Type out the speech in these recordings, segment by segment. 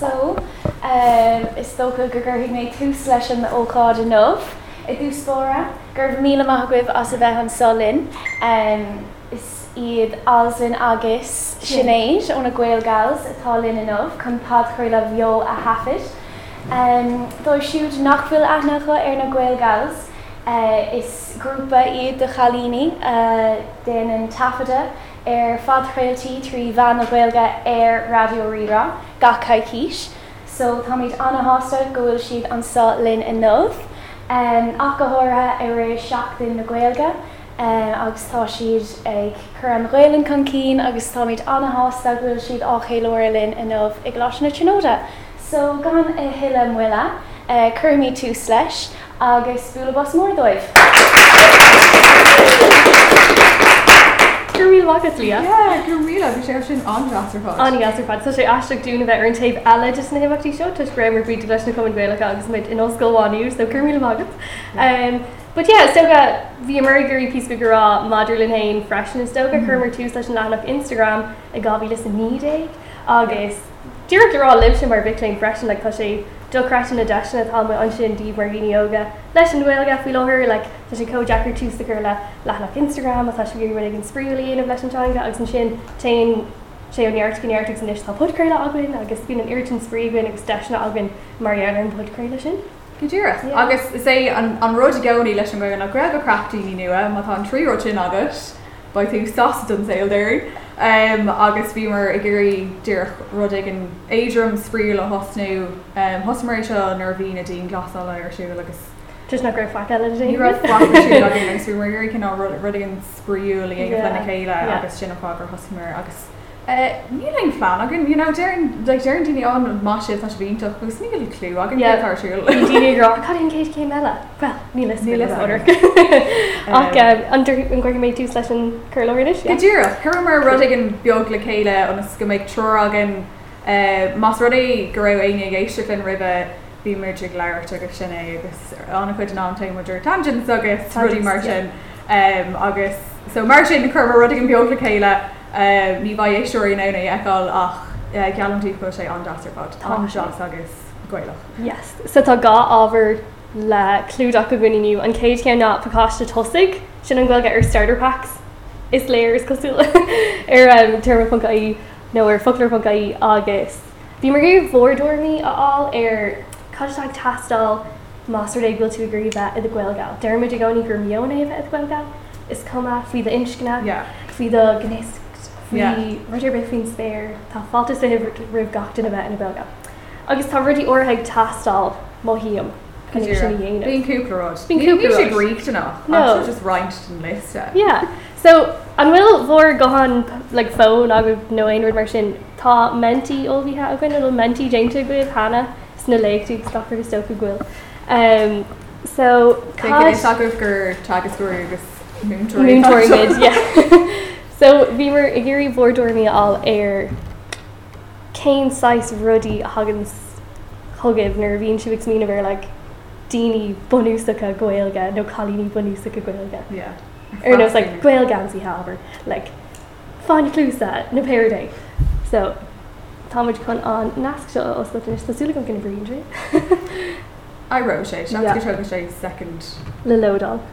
So, um, is stocha go eh? gurthaí mé tús leis an óád an nómh. I dús spóra, gur míle maithgwibh as a bheith an solin, um, is iad alsin agus sinnéis óna ghilgails atálinn an nómh chun pad chuir le bheo a hafid. Um, Dó siúd nachfuil aithnacha ar er na ghilgails, uh, is grúpa iad do chalíní uh, den an tafada er ar fadchréiltí trí bhean na ghilga ar er radio rira ga caiicíis, so táid anna hásta gohfuil siad ansá linn in nómh. Um, ach gothirithe ar ré seachtain na ghilga, um, agus tá siad ag chu an réilinn chu cín agus táid anna hásta gohfuil siad á chéileirlinn in nómh ag glas na tróda. So gan i hiile muile, uh, curmí tú leis agus spúlabas mórdóibh. Gurmí agus lí gur riad agus sé sin andratará. Aní asarpad sa sé astra dúna bheith ar an taobh eile just na himachtaí seo tuis grammar brí leis na cum bhéile agus mid in oscailháinú so gurmí agus. But yeah, stoga the American piece we gra Madrelyn Hain freshen is stoga Kermer two slash and of Instagram a gabi listen me day August Director all lives in our victim freshen like tushy do crash in a dash and palm with unshin D Margini yoga lesson will gaff we love her like such a cojacker two the curla lahan of Instagram with such a really and spree and of lesson trying Alex and Shin tain sé an neart gin neartgus inis tá pucréile agan agus bíon an irtin spríúin agus deisna agan marianar an pucréile sin. Gudíra Yeah. agus is é an an rud gaí leis an mgan a greibh craftíí nua má tá an tríú sin agus ba tú sas don saoir agus bhímar i ggurí dúch rudig an érum spríú le hosnú hosmaréis seo an nervhí a dín glasála ar siú agus Tus na greibh fa eile Ní raibh fágtha siúil againn, agus bhí mar gur cin á ru- rudaí an spríúlaí agus Yeah. lena chéile Yeah. agus sinna fágur thosair agus Eh, Ní le fan agin you know, dearan like, oh, dearan daoine an máisi tá bhíach chus ní le clú agin Yeah. tarsúil. Dínírá cadn céit cé meile Well ní le Ní ní le leis áir Um, ach an goir méid tú leis an Go chuirlóiris dúra chu mar rudig an beag le chéile an go méid tro agin Eh, más rudaí go raibh aine géiste an ribbe bí muidir leir agus sinna agus anna chuid an antain muidir tangent agus rudí mar Tangents, yeah. sin. um, agus so mar sin chu rudig an beag le chéile ní bha éisiúí nóna eáil ach eh, ceantí chu sé an dasarpad Tá an sí. seach agus goilech. Yes sa tá gá ábhar le clúdach go gcuineniu an céit cean ná paáiste tosaigh sin an ghilga ar starter packs is léir is cosúla ar um, termfacaí nó ar foglar focaí agus. Bhí mar gur bhórdormí aá ar caiisteag tastal Master é bhil tú gurí bheith i ghilga. Dermid a gáinnig gur mionna bheith ghilga is cumma fao de inscna Yeah. Fhí do gnéist Yeah. ruidir be fin spéir tá faltas in rih gatain a bheith in belga. Agus tá rudí orthaid tastal mohíam Bhín cúplarráid. Ní- ní sé cúplarráid. gríicteach No. just reinint an liste. Yeah, so an bhfuil mhór gohan le fón a bh nó aonú mar sin tá mentí óhíthe a gin le mentí déinte goibh hena sna le tú stopar go stofa ghfuil. Um, so cad- Tágurh gur teagusúir agus Moon touring mid, yeah. so we were a Gary Vordormi all air Kane size Ruddy Huggins Huggiv Nervine Shivix Minaver like Dini Bonusaka Goelga no Kalini Bonusaka Goelga. Yeah. Or no, it's like Goelgansi however, like Fine Clusa no Paraday. So Thomas Kun on Nask Shaw also finished the Sulikon can bring it. I wrote Shay. She Yeah. has to show second. Lilodon.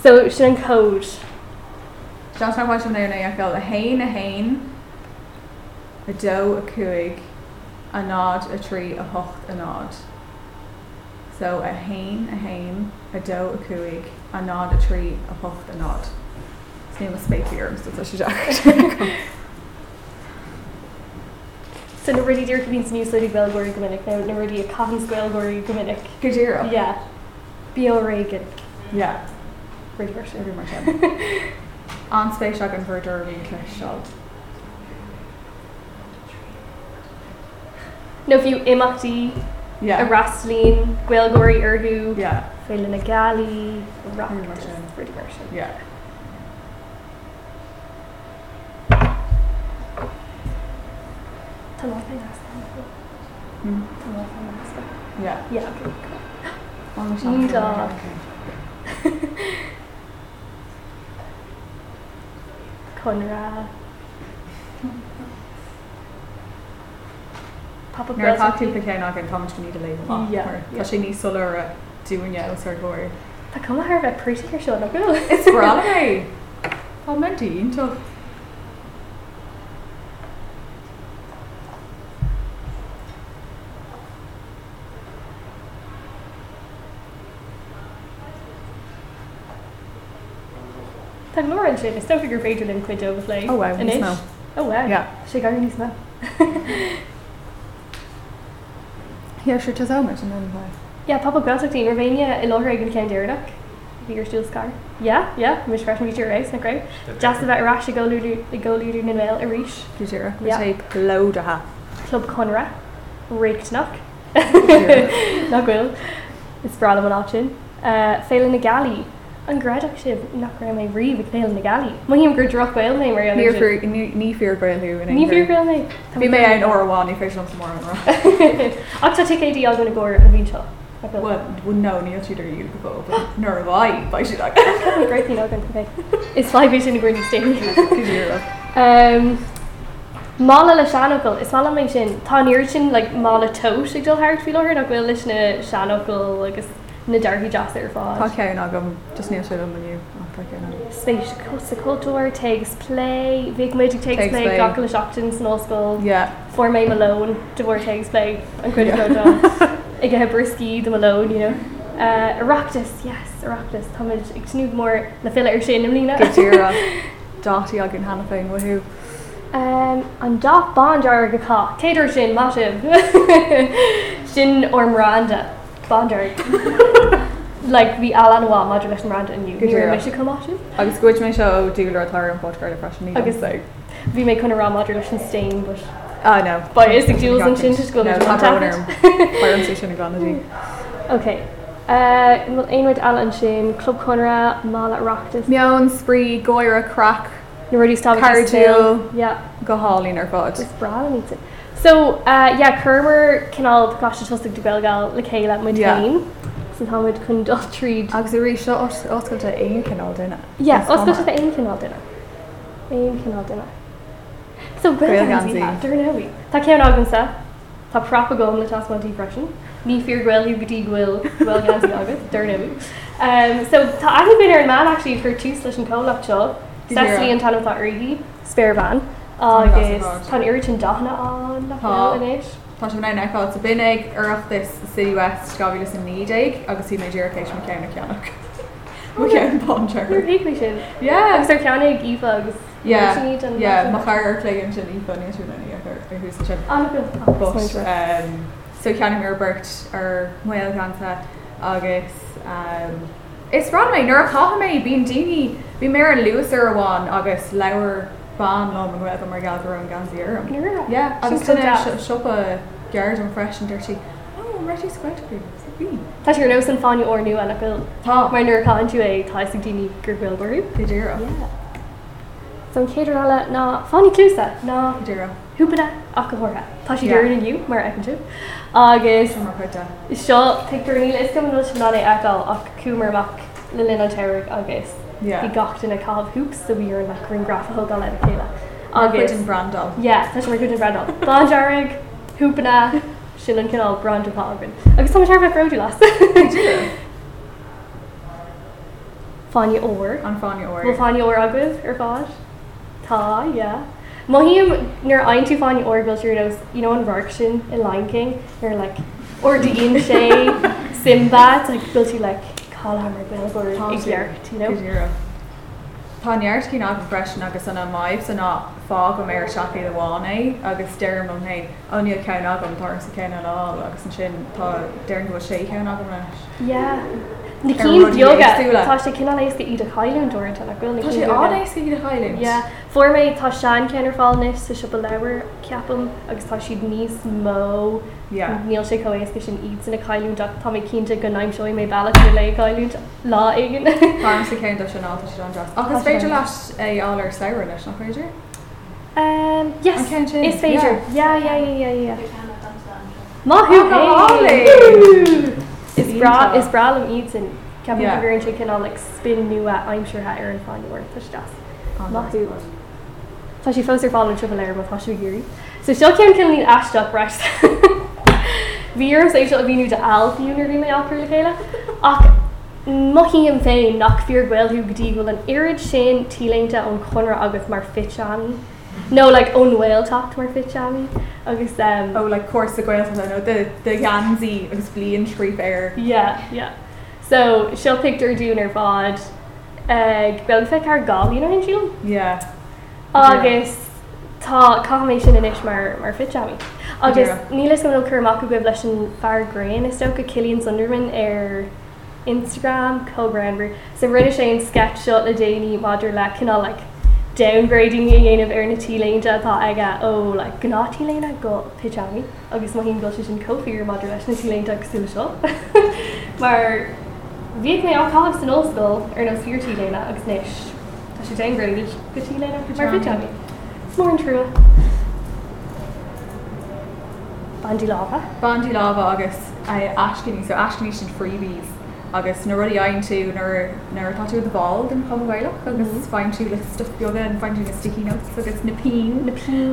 So Shin Code. She has to watch on there now. I feel a hain, a hain, a doe, a cooig, a nod, a tree, a hocht, a nod. So a hain, a hain, a doe, a cooig, a nod, a tree, a hocht, a nod. It's name of space here. So that's what she So na rudi dir cyn new slid gwelgory gyminic na na rudi a coffin's gwelgory gyminic. Good year. Yeah. Bio Reagan. Yeah. Rudi version. Every much. On space shotgun for a derby and clash shot. No few imachti, a Yeah. rastlin, gwelgory erhu, Yeah. failin a gali, rock. Rudi version. Rudi version. Yeah. Tá lá fai nasta. Hmm. Tá lá fai nasta. Yeah. Yeah, okay. cool. On the Jean shotgun. dog. Conra. pop Nuair atú pe céan agin tá go ní le Yeah, yeah. Tá sé ní solar uh, a dúne ar ggóir. Tá cum ar bheith pretty ar seo na go. Is bra Tá mentíí tu. Tá glóran sin is stofi gur féidir lim chuid agus lei. Oh, wow, níos mó. Oh wow. Yeah. sé gar níos me. Hí sé tá mar an an. Ja papa gaach in Romania i logar an cean deirnach. Bhígur stiúil scar. Ja, ja, mis fresh mí rééis na greib. Just about ra i goúú i goúú na mail a ríis. Cúéra Yeah. sé pló a ha. Club Conra, Rignach nahfuil is brala an option. Féile na galí an gradach sib nach ra mé riomh ag féil na galí. Má híim gur drochhil na mar Ní fear breú Ní bhí bil na. Bhí mé an orháin í féisi mór an ra. Ata tu éí agin na ggóir a bhíseo. bú nó níl siidir dú go nó bhhaid ba si le greithí agan fé. Is fáhí sin na gúirní stéir. Cúéra. Um, Mála le seanil is mála mé sin táíir sin le mála tó ag dul hair fi leir a bhfuil leis na seanil agus na deirhí deasar Tá fá. céan agam just níos siú maniu céan. Spéis cu- sa cultúir takes play, bhíh mu takes Takes play play. ga le seachtain nóscoil Yeah. for mé malone de bhór takes play an chuid Yeah. go ag he briscí do malone, you know. Uh, Arachtas, yes, Arachtas, Táid ag snúd mór na fiile ar sin am lína. Cúéra. Dátí agin hena féin wahú. Um, an dá bond ar go cá Taidir sin máisih sin or Miranda Bondar le bhí alan bhá má leis an Miranda aniu Good Níor girl. mé se comáisih Agus goid mé seo dúlar atáir an podcast a freisin Agus- agus le. Bhí mé chun rá madidir leis an stain bush Ah no. Ba is the jewels and chin to school, No, there's one not tablet. orm. Barm sí sinna ganadí. Ok Uh, bhfuil aonid eile an sin club chunra má le rocktas Meon sprí goire crack na ruí stop Cardial. yeah go hálín ar fád. Just bra needs it. So uh, yeah, Kermer canal gosh just like Dugalgal like hey let my Yeah. team. So how would kun treat. Agus a rí seo os- oscailte aon canál duine. Yeah, Is let's go Omar. to the aim canal dinner. Aim canal dinner. So Gansey. Gwelganzi, Durnawi. Tá cean agan sa, Tá prop go le tas man depression. Ní fear gwel hu bdi gwil Gwelganzi agan, Durnawi. Um, so tá agan bin ar an man actually for two slash and colach cho. Did you hear Cecily it? and Tanam tá urigi, spare van. Tanam tá Agus sa bhfad. tá urgin dahna an Tá. nach inis. Tá sé bhna aá oh, a binnig arach this City West gabhí lei an nídaig agus hí méidircéis me ceanna ceannach. Mu cean We're pánseir. vaguely shin. Oh, Yeah. Agus ar ceannig ífagus. yeah, má chair léann sin ífaní únaí ar hús sin. Anna um, so ceanna ar burt ar muil gananta agus um, Is ran mé nuair a cha mé bíon daoine bhí mé an luas ar bháin agus leabhar ban lá an bhfuil mar gaú an ganíarm. Yeah, Sin agus clog duine out. si- siop a gearid an fresh and dirty. Oh, Retty Squad Group. Tá ar nó san fáinine orú a nachfuil Tá mar nuair cáin tú é táigh daoine gur bhfuilú. Cadéra San céidir eile ná fáinine clúsa ná Cadéra thuúpada a gothra. Tá si Yeah. dúir inniu mar eintú. Agus mar chuta. is seo teúí is go bhfuil sin nána eáil ach cúmarach le lin an teireh agus. Bhí gatain na cábh húps do bhíar an nachrinn grafathil gan le chéile. Agus an brandal. Yeah, that's where good and Brandon. Bonjarig, Hoopana, Shilin Kinnell, Brandon Palgren. I guess how much time I wrote you last. Fanya Orr. An fáinine Well, or Fanya Orr Agwiv, or Faj. Ta, yeah. Mohim, near Ein to Fanya Orr, Bill Chirinos, you know, in Varkshin, in Lion King, they're like, or Dean Shay, Simba, it's like, Bill Chi, like, Colhammer, Bill, or Iglert, you know? Cadéra. Táart cí ná freisin agus anna maibh san ná fá go mé ar seaí le bháinna agus deirm an héin aní cean agam tar sa céan á agus an sin tá deirn go sé cean agam leis. Yeah. The Ar keen rud yoga. éagsúla. Tasha, can I ask the Ida Kylan door into that girl? Tá sé áéis go a chaile? Yeah, for me, tá sean ceanar fáilnis sa sipa leabhar ceapam agus tá siad níos mó Yeah. níl sé choéis go sin iad sanna caiún deach tá mé cínte go naim seoí mé bailach go le gaiún lá igen. Farm sa céim do sin á sin an dras. Tá Agus sé féidir leis é áil ar saoir leis nach féidir? Um, An yes, ceann sin? is féidir. Yeah, yeah, yeah, yeah, yeah. Má Oh, go thuú Is bra Ionta. is bralam iad sin ceapan Yeah. gur an sin cinál le spin nua aimimsir ha ar an Oh, fáinúir tuiste. Má thuú. Tá sí fós ar fáil an tripa leir má tá siú géirí. So seo cean cin líon eisteach breis. Bhíar é seo a bhíú de alfiúnar bhí mé áú le chéile ach Mochí an féin nach fear ghilú gotí bhfuil an irid sin tílínta ón chunar agus mar fitan. No like onhil tacht mar fitan agus um, Oh, like course the grail no the the Yanzi was fleeing tree bear. Yeah, yeah. So she'll pick her dún ar bod bel fe ar gáí ar an siúil Yeah. agus tá caiéis sin inis mar mar fitjaí. Agus Díreach. nílas go bhfuilcurach go bh leis an fargrain is sto go Kilíonn Sunderman ar Instagram cobranber so rinne sé an sketch shot le déanaí Maidir le cinná le downgrading i dhéanamh ar na tíléinte atá oh, aige ó le gnátííléna go pitjaí agus má híon go sé sin cofiír Maidir leis na tíléinte agusúla seo mar Bhíag mé áá san óscoil ar nó fiortííléna agus níis Tá sé dangrading gotííléna mar pitjaí. It's more true. Bandy lava. Bondi lava agus I ashkinny so ashkinny should freebies agus na ruddy ein tú nar nar tatu the ball den pamhailach agus mm -hmm. find tú le stuff yoga and find tú le sticky notes agus napeen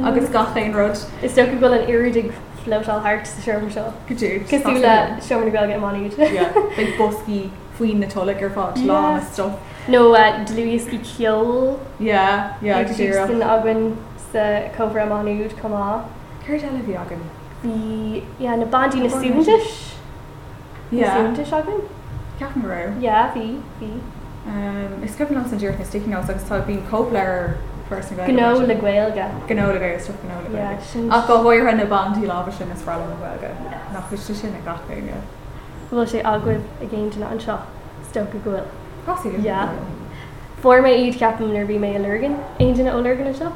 agus gachain rod Is sto go an iridig float all heart sa sharm seo. couture Cos tú le seomna gail get manid. yeah big bosky fween na tolik or fod yeah. law and stuff No uh, deluisci ceol yeah yeah couture sin agan sa cover a manúd comá. Cur televiagan Bhí yeah, na bandí na studentish. yeah Studentish agan? Catmaro Yeah, bhí, bhí. Um, is go an dúir na sticky notes agus tá bíon cóplair person Gó le gailga. Gnóla sto gnóla. Yeah, sin- A go bhir an na bandí lá sin is fáil na bhilga nach chuiste sin na gathige. Bhfuil sé agah a ggéinna an seo. Sto go gohfuil. Cosí Yeah. For my eid capim nar bhí mé a lurgan, aon duna ó lurgan seo?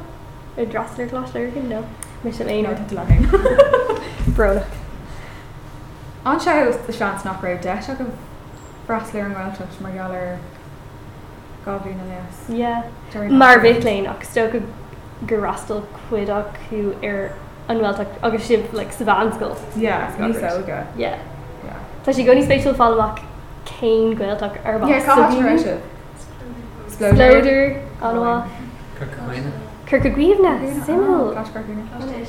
I drastar glas lurgan nó me sin Aon aon áta le. brona. An se de seans nach raibh de se go brasléir an bhilteach mar galir gabhí na leas. Yeah. Mar bhéitléin ach sto go gorastal cuiideach chu ar anhfuilach agus sib le sa bhanscoil. Yeah, Got ní it. soga. Yeah. Yeah. Tá sé gcóní spéisiúil fáach céin ghilach ar Yeah, cóhaisiú. Loader, anhá, Cacáine. Cur go gríomhna, Ah, Oh, simú.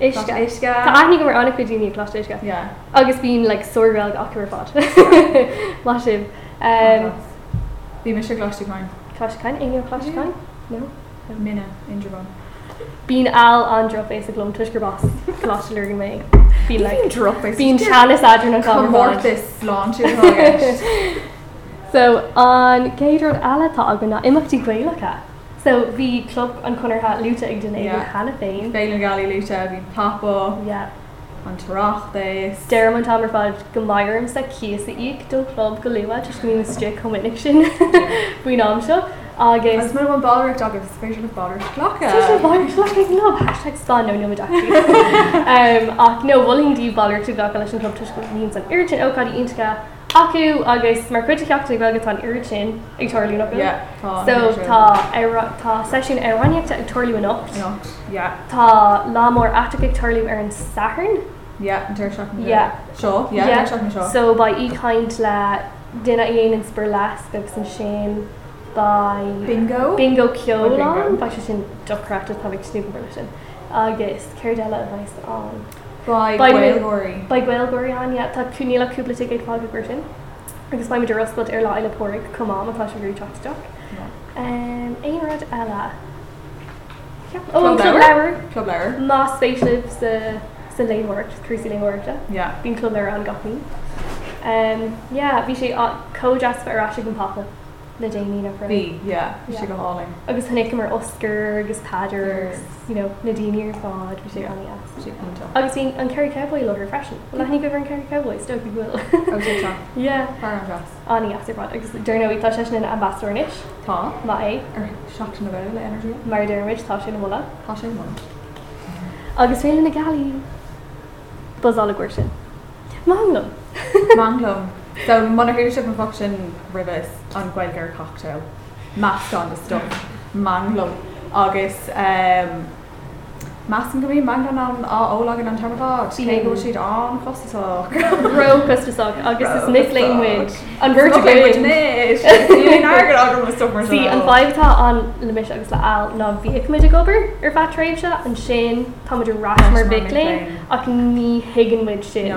Isca. Tá Isca. aithnig go mar anna chuidíní glas isca. Yeah. Agus bíon le soirbeag achar fád. Lá sib. Ehm. Um, Bhí me se glasúáin. Cláisicáin aon cláisicáin? No. Minna in Japan. Bín all an drop ééis a glom tuisgur bas Cláisiúir go mé. Bhí le drop is bín chalas adra na gá. comórtas oh láin So an céidir eiletá aganna imachtí gréilecha. So bhí club an chunartha luúta ag den éidir Yeah. chana féin. Bé na galí lúte bhín papa an tarachtas Deir an tamar fád go mairm sa chias íag do club go leha tus mí stre cominic sin buon am seo agus Is mu an balreacht agus spéisiú bar Um, clocha Um, ach nó bhling dí ballir tú ga leis an thobtu go níon an irtin óád intacha acu agus mar chuteachta bhegad an irtin ag toirlíúna Oh, So tá éire- tá seisiún arhaíochtta ag toirliú anocht. yeah Tá lámór atacha ag toirliú ar an saharn, yeah an tuir seach Yeah. seo Yeah. yeah seach seo so ba íchaint le duine aon spur las agus an sin ba bingo Bingo ceolán bingo. ba sin doreaachta tá snúpa sin agus céir deile bhais an. by By Will- Gory Ba ghil goíán tá cúníla cúplatí ag fága grisin, agus ba idir raspla ar le eile póric comá atá se grú teteach. Éonrad eile Oh, Club Leabhar? leir club leir má spaceship sa sa léhhairt cruí léhhairte, yeah bín club leir an gaí. bhí sé códeas arráise an papa na déí na frí. bhí yeah is Yeah. si go háling agus hannig mar Oscar agus Pader you know, nadine ar fád go sé Yeah. an si go agus bhín an Carry Cowboy lo fresin le hanig gobar an Carry Cowboy sto go Oh, bhfuil yeah far an gas aní asarpá agus dúna ítá sé sin an ambassadornis tá má é ar seach na bhile le energy mar dermid tá sin bhla tá sé mu agus féle na galí buzzála goir sin Málum Manglum. So monohydrogen function rivers on Gwelgar cocktail. Masked on the stuff. Manglum. August um Mas go mí man an á ólagan an tará hé go siad an cosach. Ro Custasach agus is Bro, Nick costasach. Lanewood an Virgin Sí an bhaimhtá an lemis agus le eil ná bhíicmuid a gobar ar fatréim se an sin táidir rasmar Rachmar bicléin Biclein. ach ní higanmuid sin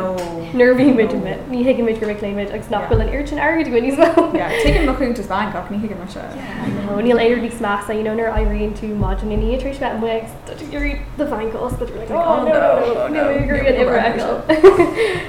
nervhí muid ní higanmuid gur bicléimiid agus Yeah. nachfuil an irtin aird go níos Tuigen moún is bain gach ní hiige mar se. Níl éidir níos más a dionar aíonn tú máin in ééis le mugus gurí do bhain go ospa Oh, no, no, no, gur give me more ibre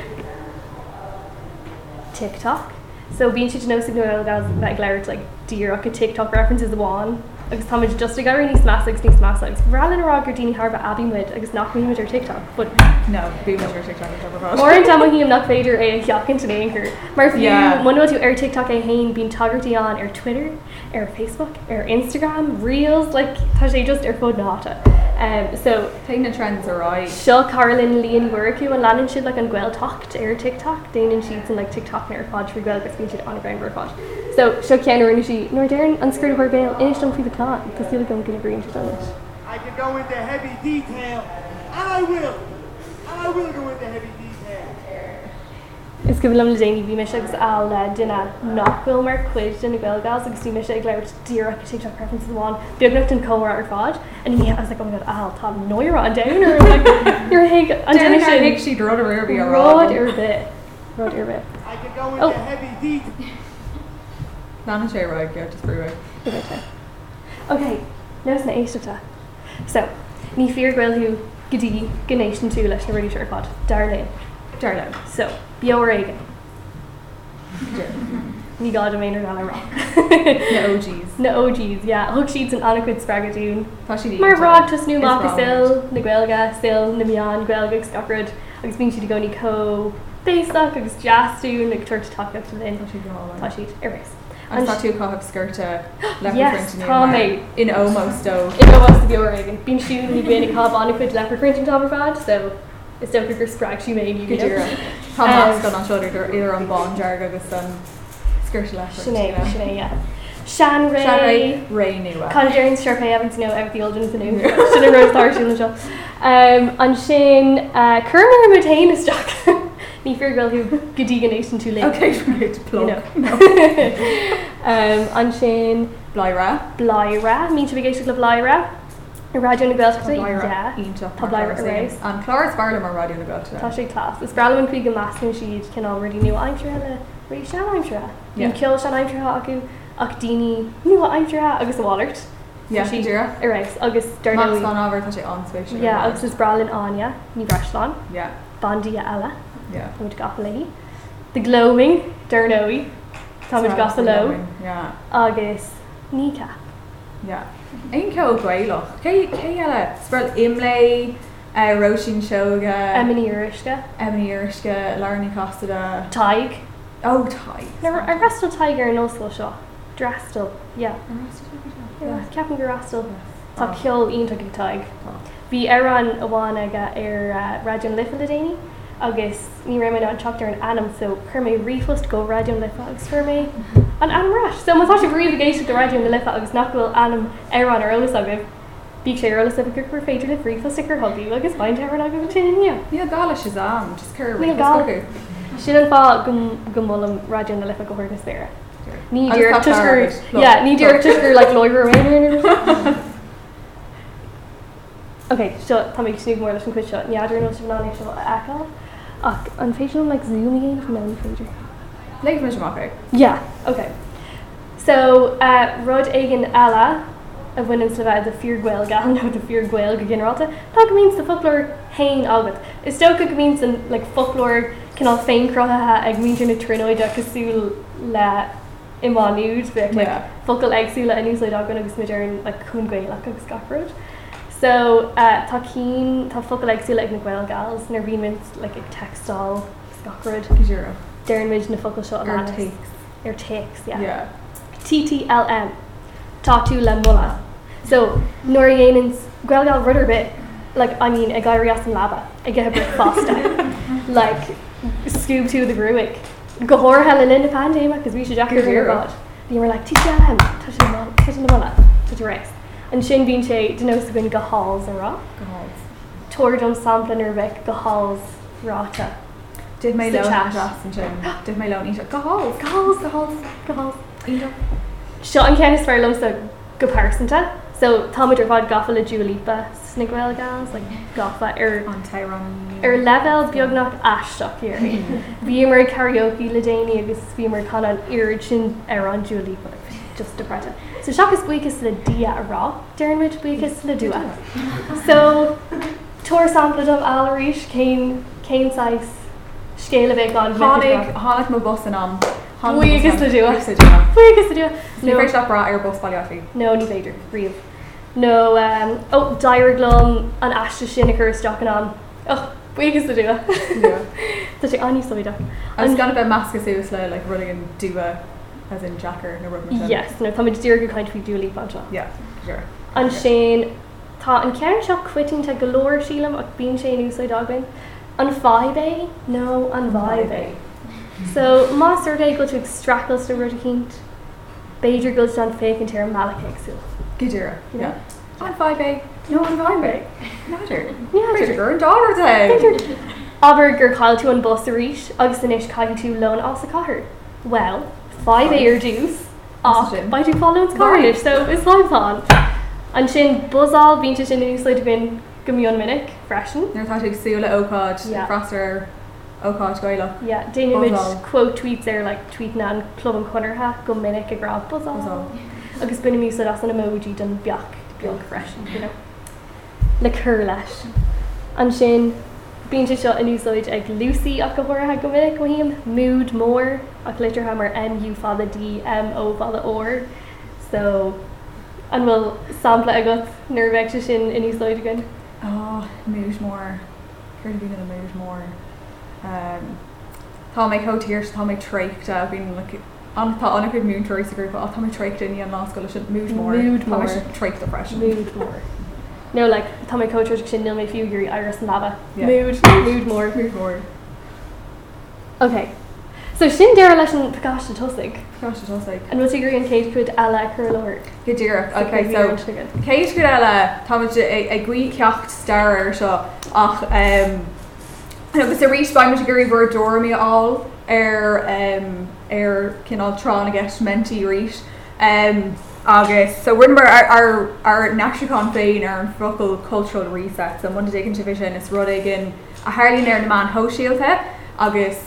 TikTok. So bíon si nó signal bheith leirt le díach go TikTok references bháin agus táid just a garí níos más agus níos más agus bhrálinn rá gur daoine Harbh abímuid agus nachmuid ar TikTok, bud No, bí mar te an Mar an tam hí am nach féidir é chiaachan in éair. Mar Yeah. mu tú ar tiktok é hain bín tagartí an ar Twitter, ar Facebook, ar Instagram, reels like tá sé just ar fód náta. Um, so Te na trends ará. seo Carolyn líon workú an lean siad le an ghil tocht ar tiktok, déanaan siad an le tiktok ar fád trí ghil gus siad an grain fád. So seo ceanú si nóir déan anscrúd bhar béil inis an fi lá, cos tú go gona green dois. I can go into heavy detail, and I will. I will go into heavy detail. Is go bhfuil déanaine bhí meise agus á le duna nachfuil mar chuid den na ghilgas agus tí meise ag leirdíra go títe preference bháin beagnacht an comhar ar fád a ní as go go á tá nóir an daanaar ar hiig an An daanaar hiic si dro ar bí rád ará ar bit rád ar bit. I can go into Oh. oh. heavy detail. Nana sé roiig go just breúig. Ok, nos na éisteta. So, ní fear ghilú gotí gnéisian tú leis na réidir ar fád. Darlé, darlé. So, beor aigen. Ní gá do méonar an rá. Na OGs. Na OGs, yeah, hook sheets and adequate spragadoo. Tá si Mar rod just new Is mapa wrong. sil, na gwelga, sil, na mian, gwelga, scoprod, agus bing si to go ni co, basok, agus jastoon, ag tur to talk up to the end. Tá sheet, erase. An And- tá tú chohabh skirte Yes, tá mé. in ómótó. It go was to be Oregon. Bing si, ni bin a cob on a quid leopard print and topper fad, so it's down quicker sprag she made, you could do it. Tá Um, más gan an siúidir ar idir an bán dear agus san skirte Sinead, le. Sinead, yeah. Shan Ray. Sean ré nua. Conjuring Sharpay having to know everything old and the new. Should have wrote Star Shield Show. Um, and Shane, uh, Kerner Motain is Jack. Nefer girl who Gadiga Nation too late. Okay, right, You plug. know. um, and Shane Blaira. Blyra, mean to be gated of Lyra. Radio and Girls, yeah. Tá Blaira Arrays. An Clár Barlam ar radioú na bil. Tasha class. It's Brallo and Krieg and Mask and she can already know I'm sure the Ray Shan I'm sure. Yeah. You kill Shan I'm sure Aku Akdini. You know what I'm sure Agus Wallert. sí dúra. Erase Agus Max Darnell. gan ábhar tá sé anspéisiú. Yeah, Agus is Bralin Anya, Ni Brashlan. Yeah, Bondia Ella, yeah. Thomas Gosling, The Glowing, Dernoe, Thomas Gosling, Yeah, August, Nika. yeah. Ein ce gwailech. Cé cé eile spreil imlé Rosin eh, Shoga, Emily Urishka, Emily Irishke, Larna Costa. Tig. Oh, tight. Never, I wrestled Tiger in Oslo Shaw. Drastel, yeah. Yeah. yeah. Ah. Captain Garastel. Tá Oh. ceol ionach taig. Oh. Bhí aran amháin aga ar uh, radioon lifa le déine, agus ní raimid an teachtar an anam so chur mé rifust go radioon lifa agus chur mé an anamráis. So mátá sé bríomhgéisi do radioon na lifa agus nachhfuil anam aran ar olalas agah. Bhí sé olalas a gur gur féidir le rifust gur hobí agus baint aran agah go tinine. Níl gála is am, just cur. Níl gála. Sin an fá gomlam radioon na lifa go chuirgus déire. Ní Agus dúir tá tuisgur, Clara, look, yeah, ní dúir look. tuisgur like loiger mé. Okay, so tá mé snú mór leis an cuiisio, neadidir nó sem nána seo eá ach an féisiú le zoomí go mé féidir. Léigh mu semach. Yeah, okay. So uh, rud éigen eile a bhfuin sleveh de fearhil gan nó de fearhil go generalta, Tá go míns de folklór hain agat. Is sto go mín san le folklór cinál féin crothathe ag míidir na trinoide agusú le imáúd be Yeah. focail agsúla a níos ledágan agus muidirn le chungéach agus scaród. So uh, tá cín tá focail agsúla ag na ghil gals nar bhímin le ag textáil scaród. Dúra. Dearmid na focail seo Ar an Ar takes, yeah. Yeah. TTLM, Tatu Lemola. So, Norianans, Gwelgal Rudderbit, like, I mean, a guy Rias and Laba, a Gehabrit Fosta, like, Scoob to the Gruick, Gahor Helen in the Pandema, because we should jack your Good hero. God. They were like, TTLM, Tatu Lemola, Tatu Lemola, Tatu Rex. And Shane Bean Shay, Denosa Gwyn Gahals and Rock. Gáls. tuair dom samplan ar bheith go háils ráta. Did my It's the loan chat. Johnson Jim. Did my loan eat it? Go home. Goáils goáils goáils. Seo an ceannas fearlumm sa go pásanta, so táidir fád gafa le dúlípa snig bhil gas le gafa ar On Tyrone. Ar er, level beag nach eisteach ar. Bhí mar karaoke le déine agus bhí mar chu an irid sin ar an dúlí just de breta. So seachas buchas le dia ará, dearmid buchas le dua. So tuair sampla dom áéis céim céimáis scéile bheith gan Hánig, hánig mo bus and on. Bhuí agus le dua. Buchas Buigas le dua. le dua. First up bra air bus baliafi. No, ní féidir, riamh. No, um, oh, dair glum an aiste sin a chu isteach an am. Oh, buchas le dua. Tá sé aní soideach. I Um, was gonna be mascus it was like like running and dua as in jacker and a rubber. Yes, no, tá dtíir go chuint fao dúlí fanta. Yeah. Sure. An sin tá an cean seo cuiting te golóir sílam ach bíon sé úsá dagbain. An fáibé nó an bhaibé. So má surdé go tú strachas do rucíint, Beiidir go an féic an tear malacaú. Gidura. Yeah. Yeah. On five eh? a. No an bhaibé. Natter. Where's your Yeah. girl and daughter day? Aber gur chail tú an bus a ríis agus in isis caiú tú lón as a caiair. Well, 5 é ar dús That's the gin. baidú fáún Right. caiir, so is láimán. An sin buáil bínte sin úsleid bin gomíon minic freisin. They're talking Sula Ocod, Yeah. Fraser, Ocod Goyla. Yeah, Daniel Midge Buzzall. quote tweets ar like tweet na an club an chunartha go minic a grab buá. Buzzall. Agus buna mí as an emoji don beach beag freisin you know. le chur leis. An sin bínte seo inúsáid ag Lucy a gohortha go minic gohíim múd mór a glitartha mar MU fada D M ó fada ó. So an bhfuil sampla agat nervveicte sin inúsáid gan. Oh, Moosmore. Here to be in a Moosmore. Um, Tá mé cotíir tá mé treicht a bhín le antá anna go mún éis agur á tá mé treicht in íon láscoil sin Mood múmór more. treicht a freis. Mood more. No, like Tommy Coach sin nil mé fiú gurí agus an lava. Yeah. Mood, mood more. Múmór Okay. So sin deir leis an paáiste tosig an bhil gurí an céid chud eile chu leir. Gedíach okay, so Céis go eile tá aghui ceocht starir seo ach um, agus a rís baimime gurí bhar dormí á ar um, ar cinál trán a gceist mentí ríis. Um, agus so rimbar ar ar naán féin ar an focal cultural reset so Monday Day Division is rud igen a hairlín ar na man hoisiíalte agus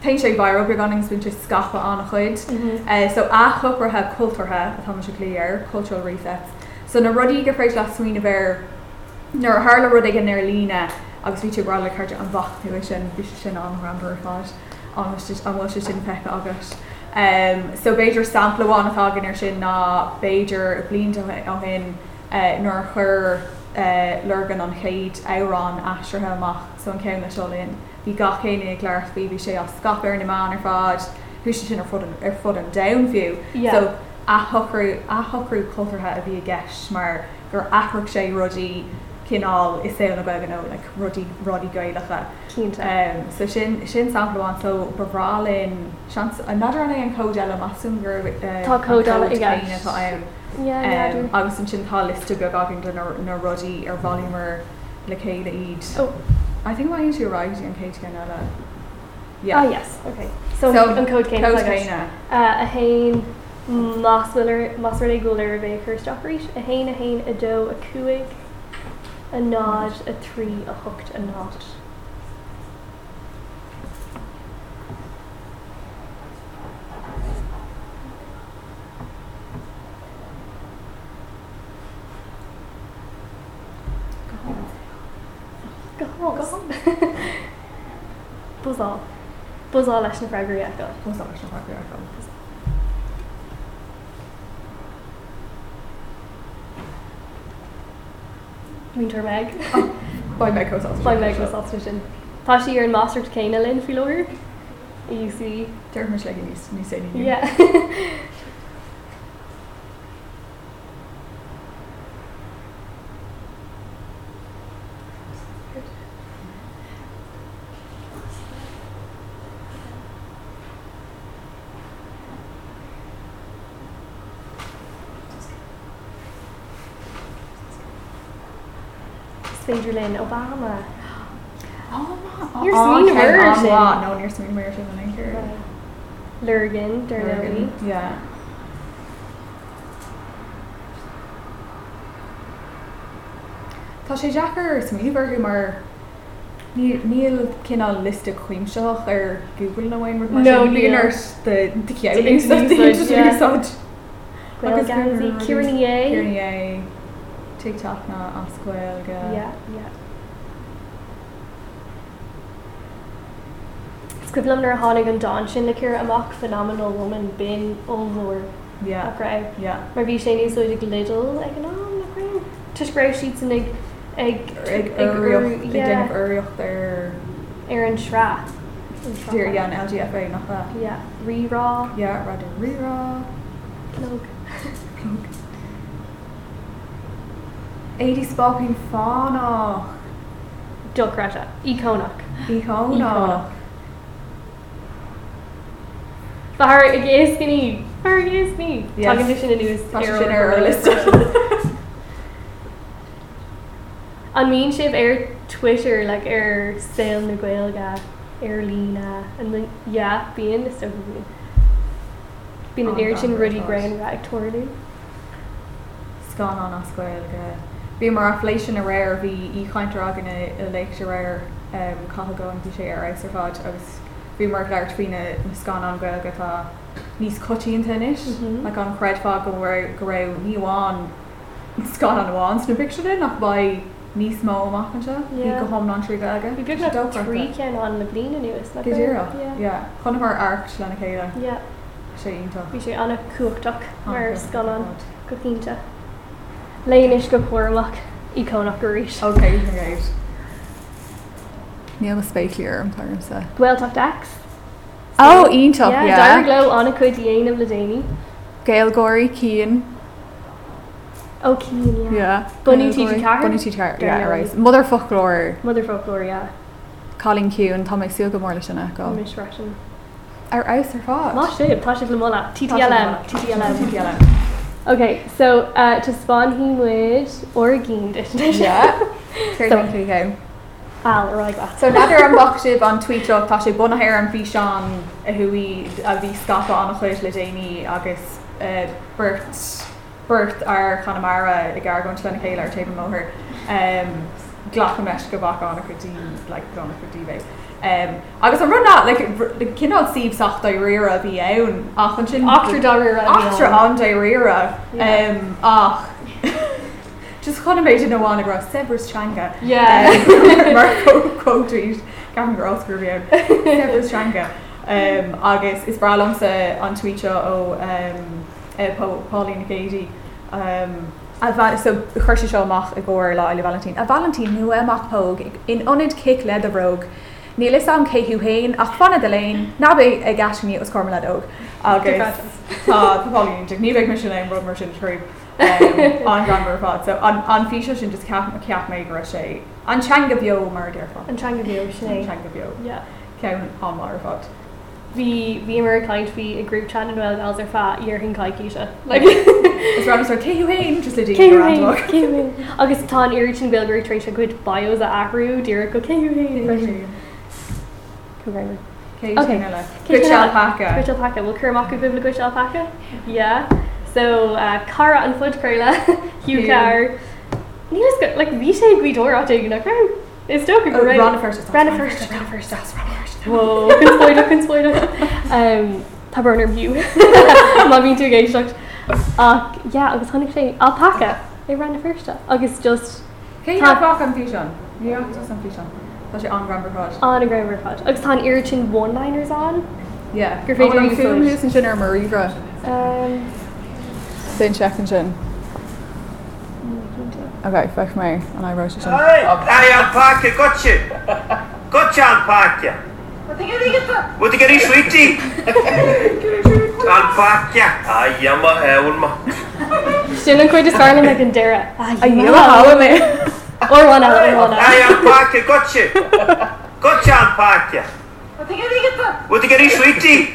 te sé bhair ganings bunte scafa an chuid. Uh, so a choprathe cultúthe atá se léir cultural resets. So na rudí go freiéis le swinoine bhir nar hála rud an ar lína agus ví bra le chute an bhachtú sin bhí sin an rambar fáis an bhil se sin pecha agus. Um, so Beiidir sampleháin atá gan ar sin ná Beiidir blionanta á hin uh, nar chur uh, legan an chéad érán astrathe amach so an céim na seolíonn. Bhí ga chéine ag leir fao bhí sé a scapar na man ar fád, thuisi sin ar fud an- ar fud an downfiú. Yeah. So a thocrú a thocrú cultúthe a bhí a gceis mar gur athra sé rudí cinál is éanna began ó le rudí rudí gaiilecha. Cínta. Um, so sin sin samplaán so barálinn another anna an códeile masún gur Tá cód eile i gceist. an. Um, agus an sin tá list go gagan do na na rudí ar volumer le céile iad. Oh. I think mai tú ráid an céit gan eile. Ah Yeah. yes, okay. So So, an code céim Cóid céine. Uh, a hain masfuir goir bheith chu stoéis a hain a hain a dó a cuaig a nád a trí a thucht a nád. e. Buzá Buzá leis na freigraí a go. What's that extra factor I found? Muintear meid. Oh, By Meg Cosell. Fáin meid go sásta sin. Tá si ar an master céine linn fi leir? Easy. Dermish like in East New Sydney. Yeah. Sandra Lynn Obama. Oh, ma- You're oh, seen okay, version. oh, ma- No, you're seen version. I think you're- Lurgan, Dernoby. Lurgan, Yeah. Tá sé Jackar smíhar mar níl cinál lista chuimseach ar Google na bhain mar No, níl. Dating sites, yeah. ceáid Gwyl Agus Gansey, Gwyl Kieran Yeh. é tuach na ascuil go Yeah, yeah. Scribblam nar hánig an don sin le cure amach phenomenal woman bin olmhór a yeah grab. yeah Mar bhí sé níos ag little ag an am na craim. Tus grab sheets in ag ag ag ur- oriocht- ag déanamh yeah, oriocht ar ar an shrá. tíir an LGFA nach le Yeah, re-raw. yeah rá an rirá Plug. Plug. 80 spáin fánach Dog Greta. Econach. í Ícháineach. hána Far a gay skinny. Far a gay skinny. Yes. Talking to Shin and News. Tá sé sin ar list On mean ship air Twitter, like air Sail Nguelga, air Lena, and then, yeah, being the stuff of me. Being an Oh, air God, chin Rudy God. Grand Rag Tornado. sán an ascuil go Bhí mar aflééis sin a e réir bhí í chaintear agan i leiicte réir um, cathgó antí sé ar éis ar fád agus bhí mar leir faoine na scán an goil gotá níos cotíí tenis Mhm. le an creidfá go ra- go raibh níháin scán an bháin sna picture nach ba níos mó amachchante í Yeah. go hom an trí gaige We good enough three can on the Blina News. like, Gé Yeah. chuna mar airt lena chéile Yeah. sé ionach. We should on a cook duck Oh, or skull on. Gofinta. Leinish go Cormac, Econach Garish. Okay, right. Níl na spéiciúr an chum sa. Well talked axe. Oh, Ó ionach Dara glow on a good Yane of Ladani. Gailgóirí cían Oh, Keen, yeah. Bunny TG Carr? Bunítí Yeah, car Mother folklór Mother folklore, yeah. Colin Cún tá ag siú go mórla sinna Oh. go. Mish Russian. Ar aus ar Má fád. sé, tá sé lemola. TTLM. TTLM. TTLM. Okay, so uh, to spawn he would Oregon dish. Yeah. So- Céircé. Al, right back. So nadidir an bochtib an tweeteach tá sé bunahéir an bhí seán a thuí a bhí scapa an chuir le déine agus eh, burt burt ar Chanamara i gar go lena chéile ar taobh móthir ghlacha meis go bhach anna chutí le gona chutíbé. Um, agus an runna le cinál síb sacht do rira a bhí ann ach an sin Octra Dara. Achtra an de rira Yeah. um, ach just chuna méid in bháin agra sebras teanga Yeah. mar quoteid gan gur oscurú Seanga agus Ehm, is eh, bralam sa an tweeteo ó um, eh, Pau- Pauline Gady um, a va- so chuir sé seo amach i ggóir le eile Valentín. A Valentín nu amach póg in onid kick le a rog. Ní is am céú héin ach fanna de lein ná bé ag gasisiní os cormla óg agus tá tá Pauline de ní bheith mar sin an rud mar sin trúb Um, an gan mar fad so an an fío sin just ceap ceap mé ra sé an teanga bio mar dear fan. And trying to be ocean. teanga bio. Yeah. cean an mar fad. Vi vi mer kind vi a group chat and well elder fat year hin kai Keisha. Like Is ra ar céú hain just le dí Kein agus tá an irritin bilgur tre a good bios a ahrú dear go Kein Okay. Cé Cé céile. alpaca. Gwitch alpaca. Will Kermak give a gwitch alpaca? Yeah. So, uh, Cara and Foot Carla, Hugh Hugh. Car. Nina's got, like, Vita Guidora taking a crown. It's dope, Oh, right? Ronna first. that's Ronna Ronna first, first. Ronna first. that's Ronna first. Whoa, consploider, consploider. Um, tá burner view. Má bhín tú géis lecht. Ach, Uh, yeah, agus tháinig sé alpaca. They ran the first up. Agus just Cé Tá- alpaca an físan? Níochttas an físan. Tá sé an Grand fad. on a grammar fudge. Agus tá an irritin one-liners on. Yeah. Gur féidir an úsáid. fúmlús an sin ar maríra. Um, Sin check an sin. Okay, fech mé an I roast sin. Hey, hey, alpaca, gotcha. Gotcha, alpaca. What are you getting sweetie? Alpaca. Ay, yama, eulma. Sin an cuid is garlan like an dara. Ah, A dhéile hála mé. Or one out, or one out. Hey, alpaca, gotcha. Gotcha, alpaca. What are you getting sweetie?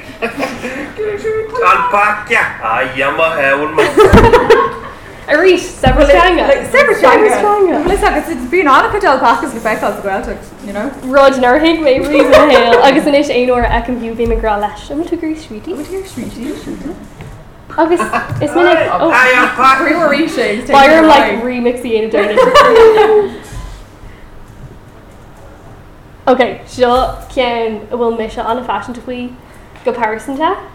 Alpaca. Ay, yama, eulma. A rís several Like, separate genre. Listen, it's- it's been on a Cadell Pascal's effect as well, you know? Rod nar hiig mé rihéil agus inis éonir ag an bhiú bhí mará leis am tú gurí sweetí. Agus is mi Hi, I'm We Parker. were reshaped. Fire like remixí in dirty. Okay, seo cean bhfuil me seo anna fashion faoi go Parisanta.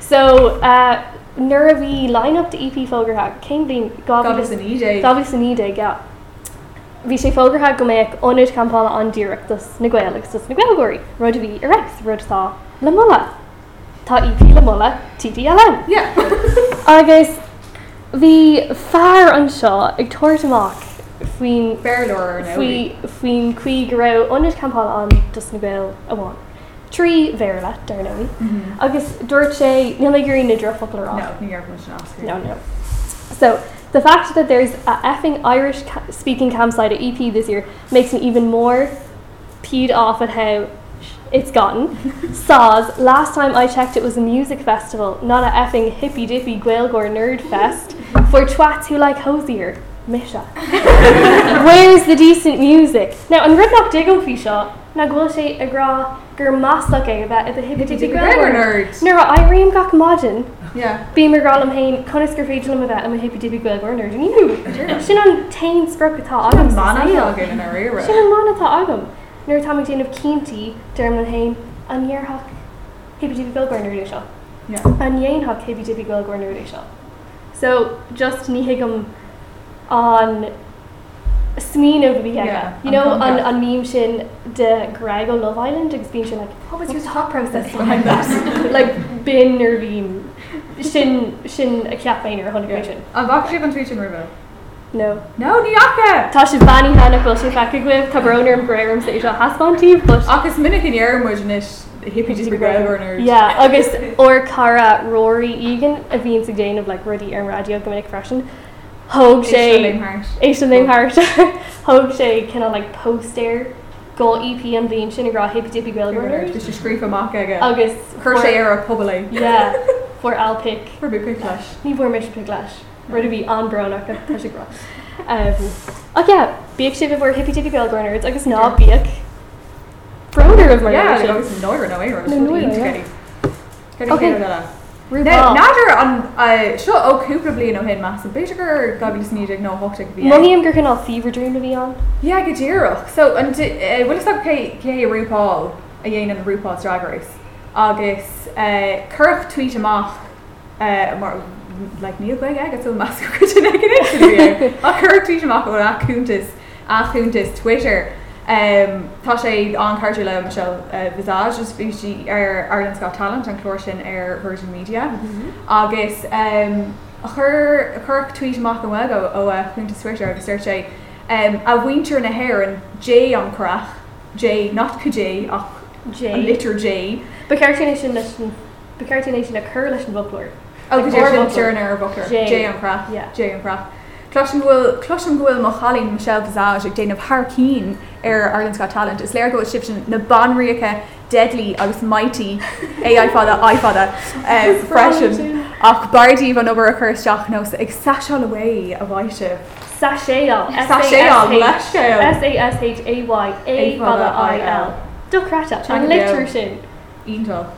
So uh, nuair a bhí lineup E de EP fógartha cé bhín God is an EJ. Dábhí san níide ga. Bhí sé fógartha go méid óid campála an ddíireachtas na ghilgus na ghilgóirí, rud a bhí irex rudtá le mla. Tá EP le mla TDLM. Yeah. Agus bhí fear an seo ag tuair amach faoin Fair Laura now. faoi- faoin chuig ra onid campá an dus na bil amháin. Trí bhéir le dar nóí. Agus dúirt sé níla gurí na ddrofocle rá. No, New York was an Oscar. No, no. So the fact that there's a effing Irish ca- speaking campsite at EP this year makes me even more peed off at how sh- it's gotten. Saws, last time I checked, it was a music festival, not a effing hippy dippy Gaelgore nerd fest for twats who like hosier. Misha. Where's the decent music? Now, on Ridlock Diggle Fisha, Nagwilshe Agra Gurmasake about the hippy dippy Did you grammar Gaelgore nerd. nerd? Nura Irene Gakmajin. Yeah. Bímar gálam hain conisgur féidirlam a bheith am hippie dipi goil gornar den níú. Sin an tain sprochatá agam Mana sail. in a rera. Sin an mánatá agam. Nuair tá déanamh cíntaí derm an hain an dhearthach hippie dipi goil gornar seo. Yeah. An dhéonthach hippie dipi goil gornar seo. So just ní higam an smín of bhí Yeah, yeah, you an know an, concept. an mím sin de Greg on Love Island agus bíon sin like, what was your thought process behind that? like bin or bhím sin sin a ceapfain ar 100 yeah. I'm actually going to teach him river. No. No, New York! Tá sin banní hena bil sin fecha goibh tabrónar an breirm sa seo hasbántí but Akas minute in your imagine is hippie just grammar nerd. Yeah, agus or cara Rory Egan a bhíon sa déanamh le rudí ar an radio gomininic freisin. Thóg sé Asian name character. Hope she kind of like poster go EP and being shin gra hippy dippy girl This is scream for mock again. August Crochet era public. Yeah, for Alpic. For a bit quick flash. Ni vor mission piglash. Where to be on brown or pushing gra. Um. Okay, yeah. Beak shape of our hippy dippy girl girls. I guess not beak. Browner of my Yeah, like relation. obviously Noira, no Aaron. No, Noira, yeah. Okay. Okay. RuPaul. Nadir an seo ó cúpla blion ó hen más an beidirgur gabil sníideag nó hotaigh Money I'm gonna all fever dream to be on. Yeah, go ddíireach. So uh, an bhfuil sa cé rúpáil a dhéanaan an rúpáil drag race. agus eh, curch tweet amach eh, mar le níl go agus ó mas a chur Oh, tweet amach ó aúntas aúntas Twitter. Um, tá sé an carú le me uh, visage is fití ar Ireland Scott er, Talent an chlór sin ar Virgin Media agus um, a chur a chur tweet amach an wego ó aúntas uh, Twitter agus ir sé um, a winter na heran J an crach J not cu J ach a Jay. litter J. But character nation listen. But character nation a curlish and buckler. Oh, Like go dé Orville sin Journar ar Booker. Jay. Jay an craft. Yeah. Jay an craft. Clusin bhfuil Clusin bhfuil mo chalín Michelle Visage ag déanamh Harcín ar Ireland's Got Talent. Is léir go sib sin na banríocha deadly agus mighty AI fada I fada um, freisin ach bardíh an obair a chuisteach nó ag saisiá away a bhaise. Sashéal. Sashéal, leishéal. S A S H A Y A Bala I L. Docrata. Triangle. And literature. Íntal.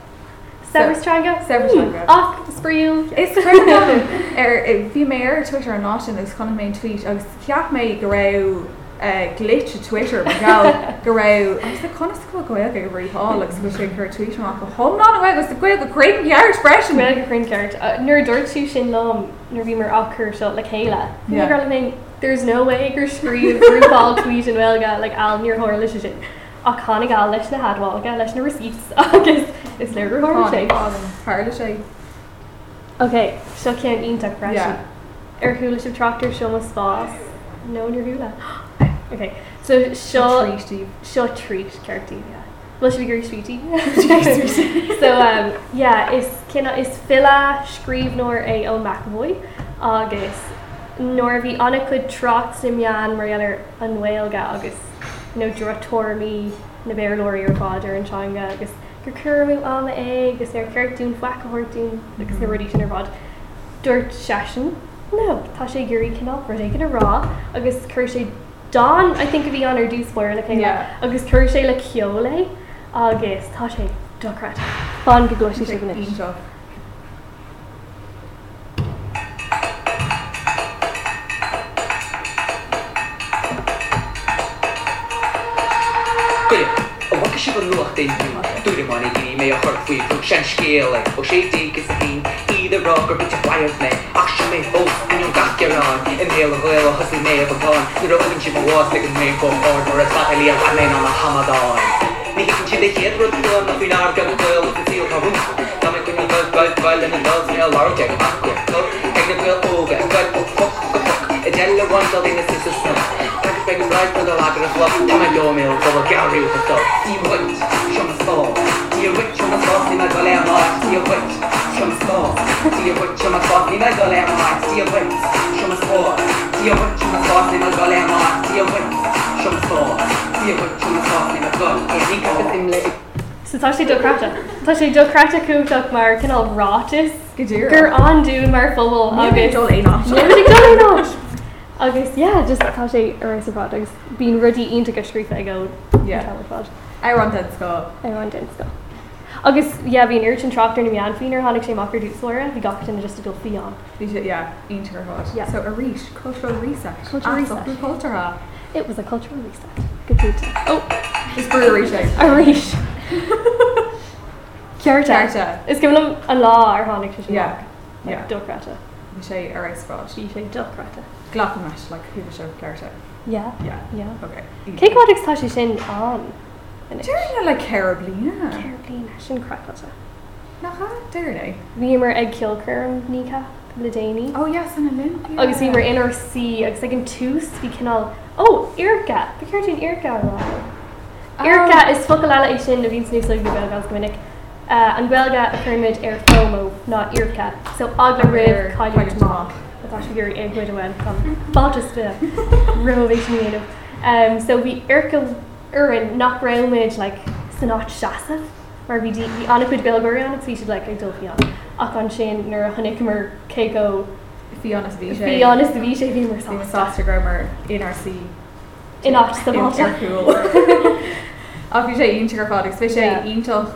Severus Triangle. Hmm. Severus Triangle. Och, Spriul. Is er bhí mé ar Twitter an náin is chuna mé tweet agus ceap mé go ra uh, glitch a Twitter gaá go ra chuna goil go rihá agus go sé chu tweet amach go thomná agus goil go creaar freisin Mega Green Card. Nur Dortu Shin Lom, Nervimer Ocker Shot like Kayla. Yeah. Yeah. Name, there's no way Gur Spriul, Rupal Tweet and Welga, like Al Near Horlish. Iconic Al Lish na Hadwalga, Lish na Receipts. August. It's Lerger Horlish. Parla sé Okay, so can't eat duck fresh. Yeah. Or hula ship Er tractor, show must boss. No, your hula. Okay, so she'll she'll treat character. Yeah. Well, she'll be very sweetie. so um, yeah, is can is Phila Scrive nor a O McAvoy, August nor the Anakid Trot Simian Mariana Unwailga August no Dratormi Naber Lori or Father and Changa August Gurkuru Alma Egg is their character Dune Whackahortun because they're ready to Nervod Dirt Shashin No, tá sé gurí cinál ru gan rá agus chur sé don I think a bhí an ar dúspóir le Yeah. agus chur sé le ceola agus tá sé dorá fan go gloisi sé gan Seo. Gwyd, o wag eisiau fod lwach dyn nhw. Dwi'n rhan i ni mei o chorfwy ffwg sian sgiel e. O sef di gys hyn, i ddy rog o'r beth i gwaith me. Ac sian mei hos, yn yw'n gachio ron. Yn heil o hwyl o hysi mei o bobon. Nid o'n gynsi mei was, ag yn mei bob bod. Mor ysbat eli ar amen o'n hamadon. Ni gysyn ti dy hyd rwyd yn dod, dwi'n ar gael gwyl, dwi'n sy'n cael rwyd. Tam yn gwneud gael gael gael yn y dod, neu lawr teg am acwyr. Gael gael gael o gael gael o ffwc o ffwc. Y dell y wan dal un y sys ysnod. Ac beg yn rhaid bod y lager yn glwb, dyma diomil, bobl gawr i'w hwto. Di wyt, siom sto. Di wyt, siom sto, ni mae gole am oes. Di wyt, siom sto. Di wyt, siom sto, ni mae gole am oes. Di wyt, siom sto. Di wyt, siom sto, ni mae gole am oes. Di wyt, siom sto. Di wyt, siom sto, ni mae gole am oes. Di wyt, siom sto. So tá sé dorá. Tá sé dorá cúach mar cinál rátas Go dtír. gur an dún mar fóbal Níl agus dul é ná. Nobody got it off. Agus, yeah, just tá sé arisa products bín rudí inta go scrífa go Yeah. telefod. I run dead Scott. Everyone did go. Agus, yeah, bín urchin tractor na mian fínar hánig sé macr dút slóra, bhí gachtain just a dul fion. You should, yeah, into her hot. Yeah. So a reach, cultural research. Cultural Ask research. up the Culture ha. It was a cultural reset. Good food. Oh, It's brewery shake. Arish. Kiarta. Character. It's given him a law ar hánig sé Yeah. Yeah. Dulcrata. We say a race fraud. Bhí sé dulcrata. Glockenmash, like who was your character? Yeah. Yeah. Yeah. Okay. Cé códics tá sé sin an. During a like Carabina. Carblín sin cracklata. Naha, During. Bhímar ag kilcurm nícha le déine. Oh yes, an Olympia. agus bhí mar inar si agus ag an tús bhí cinál ó Iirca Bhí ceir tún Iirca rá. Oh, Iirca is fo leile ag sin a bhís níos le go bhilgas gomininic. an bhilga a chuimiid ar fómo ná Iirca, so agla rih caiidir má atá sé gur agmuid bhain chuátas fi rohéisinéadm. Um, so er, bhí Iirca uan nach raimiid le sanát seaamh mar bhí bhí annacuid bilgóí an bhí si le ag dulfiíán ach an sin nar a chonig mar céó Fiona's VJ. Be honest, the VJ Beamer Being a song. Sastra Grammar, NRC. Enough to the Inter bottom. cool. Af sé intígur fád, spe sé Yeah. intal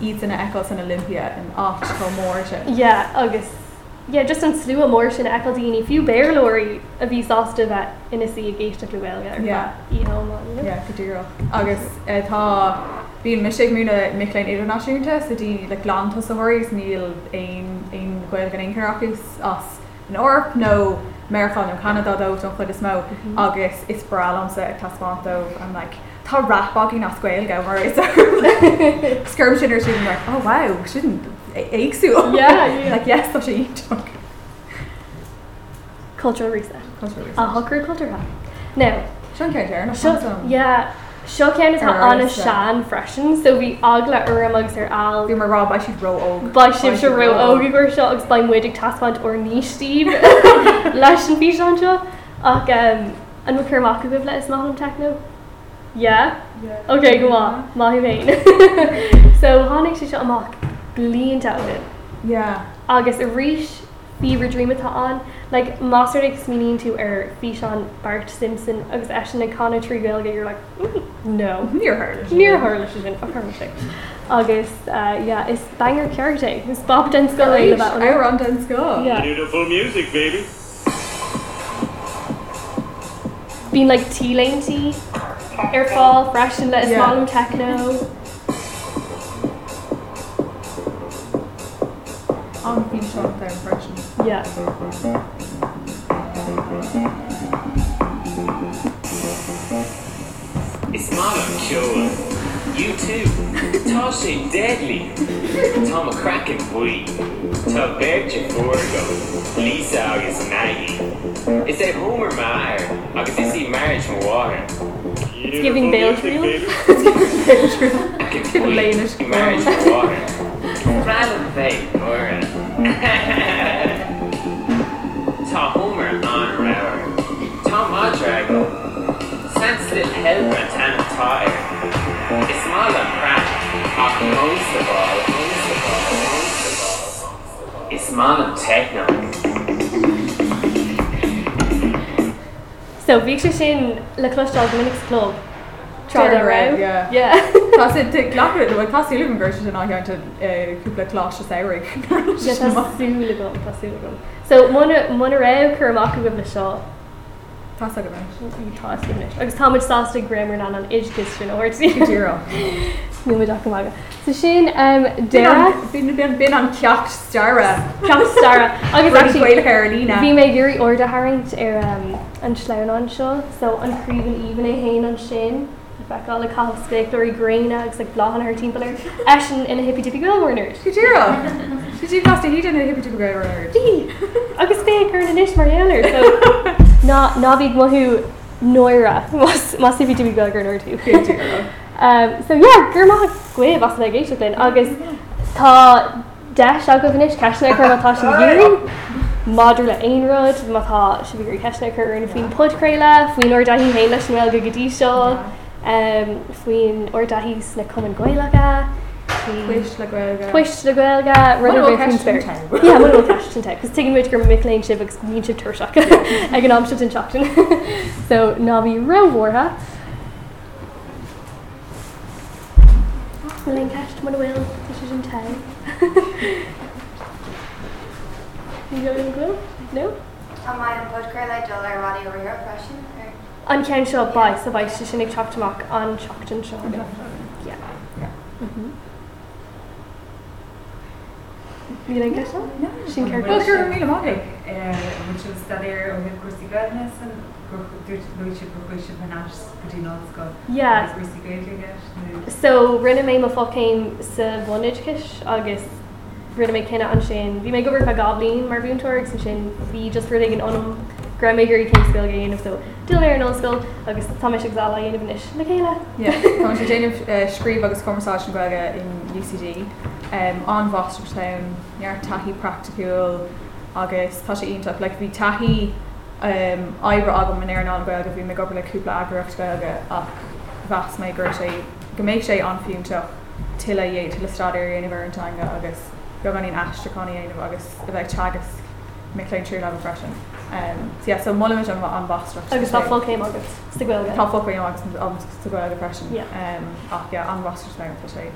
iad in echo san Olympia oh, an ácht go mór se. Yeah, August. Yeah, just on slew of Morsh and Eccledini, few bear lorry of East Austin that in a sea against a Luelga. Yeah. You know, man. Yeah. godíach. Agus eh, tá bíon miisiigh múna miléin idirnáisiúnta sa dí le glánta sahoirs níl éonhil an inchar agus as an orp nó Merán an Canada dó don chud is mó agus is bralamsa ag taspáó an like, Tá rapbagí na scuil go mar is Scurm sinar siú mar ó wow, sin éagsú Yeah, yeah. le yes tá sé íach. Cultural reset. A hooker culture hack. No. Sean Kerr na Sho- Yeah. Shokan is Or on a reset. shan freshen, so we agla uramugs are al. Bhí mar rá ba si ro óg. By ship to row Rogue. ogigur shot explain waiting taskmant or niche Steve. Lash and fish on shot. Ach, um, and we care Maku with let us Mahon techno. Yeah? Okay, go on. Mahi Main. So, Hanik she shot a mock. Gleaned out of it. Yeah. Agus a reach fever dream with on. Like, Masterdick's meaning to er fish on Bart Simpson. Agus Ashen and Connor Tree Velga, you're like, mm, no. Níor hard. Near her, she's in a perfect. August, uh, yeah, it's banger character. It's Bob Den's going about I run down school. Yeah, Beautiful music, baby. being like tea lane tea, airfall, fresh and let us Yeah. yeah. techno. I'm being shot with their impression. Yeah. It's Mama Killer. You too. Toshi Deadly. Tom Kraken Wee. Taberja Forgo. Lisa August 90. It's a Homer Meyer. I can see marriage from water. It's giving Beltriel. I can Lanish see marriage from water. Rather fake, Nora. Ta Homer on Rower. Tom Madrago. Sensitive help at an attire. It's not a crack. Of most of all, most of all, most of all. It's not a techno. So bhí sé sin le cloisteáil Minix Club Trá Trá a raibh, yeah. ra Yeah. Tá sé te glachar do bhid tasí lim gir sin áheanta cúpla chlás a éir Yeah, tásúla gom, tásúla gom. So muna muna raibh chu amach go bh seo Tá go bhain. táis agus táid sásta grammar ná an isgus sin óirtíú Dúró. docha. Sa sin um, Déna de bin bin an ceach starra Camstara agus bhil actually- Bhí Carolina. mé gurí orda haint ar um, an sleanán seo, so an críban even é hain an sin, feá le cáspéic orí gréine agus ag blahan ar timpplair, e sin ina hippie tipi gohórnir. Dúró. Dí cast a híidir na hippití go raibh. Dí agus fé chu na isis mar eir ná náhíh mothú nóire más hippie tipi gogur nóir tú. Um, so yeah, gur má cuih as le géisi linn agus tá de a go bhanis ceisna chu mátá sin dhéirí. Madra le aonrod mátá si bhí ceisna chu ar na faoin podcréile, faoin or daí hé leis mé go gotí seo, um, faoin or daí na cuman goilecha, Cuis le go. Puist le goilga Bhfuil runhil ceist caiiste. an Yeah, bhfuil ceiste, cos tuigh muid gur miléin sib agus níon si tuach ag an amseid an seachtain. So ná bhí rahórtha. Bhfuil ceist mu bhfuil tu an te. Ní go an ghil? No? Am I in Podgrad I dul ar radio or impression? Or An cean seo ba sa bhaid si sinnig teachtamach an seachtain seo. Yeah. Mhm. Ní an ceiste? Sin ceir Bhil gur míle mágaigh. Muchas studiar ó bhíh cuasí gaidne san dúirte procuisi panáis gotí nóca. Yeah, Cuasí gaige So rinne mé má fácéim sa bhneidcis agus rinne mé cinna an sin. Bhí mé gobar a goblín mar búntóir san sin bhí just ru an anm gramégurí cé sscoil géanamh so duil ar an nóscoil agus táis exála dhéanamh inis na chéile. Tá sé déanamh scríb agus commerceá an goige in UCD um, an Vosterstown near tahí practicúil agus tá sé ionach le bhí tahí um, ebre agam man ar an goilga bhí me go leúpla agracht goilga ach bheas mé gur sé gombeid sé anfiúnteach tiile dhé til le staidir inmh antanga agus go ganíon astraáí aanamh agus a bheith tegus miléin trú le freisin. Um, so, yeah, so mu an an Vostracht agus tá fácéim agus sa ghilga. Tá focaí am agus am sa go depression Yeah. ach yeah, an rastr sna tá sé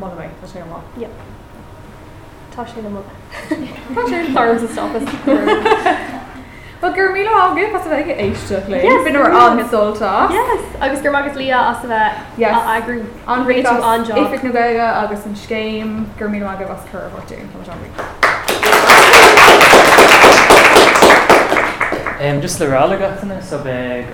mó mé tá sé má. Tá sé na mu. Tá sé farm sa stoppas. Ba gur mí ágé pas a bheith éiste lei Yes, bin ar an hisolta Yes, agus gur agus lí as a bheith Yes. agrú an ré an Éfik na gaige agus an scéim gur mí agah as chur bhirtún tá an Um, just le rála gatainna so bheith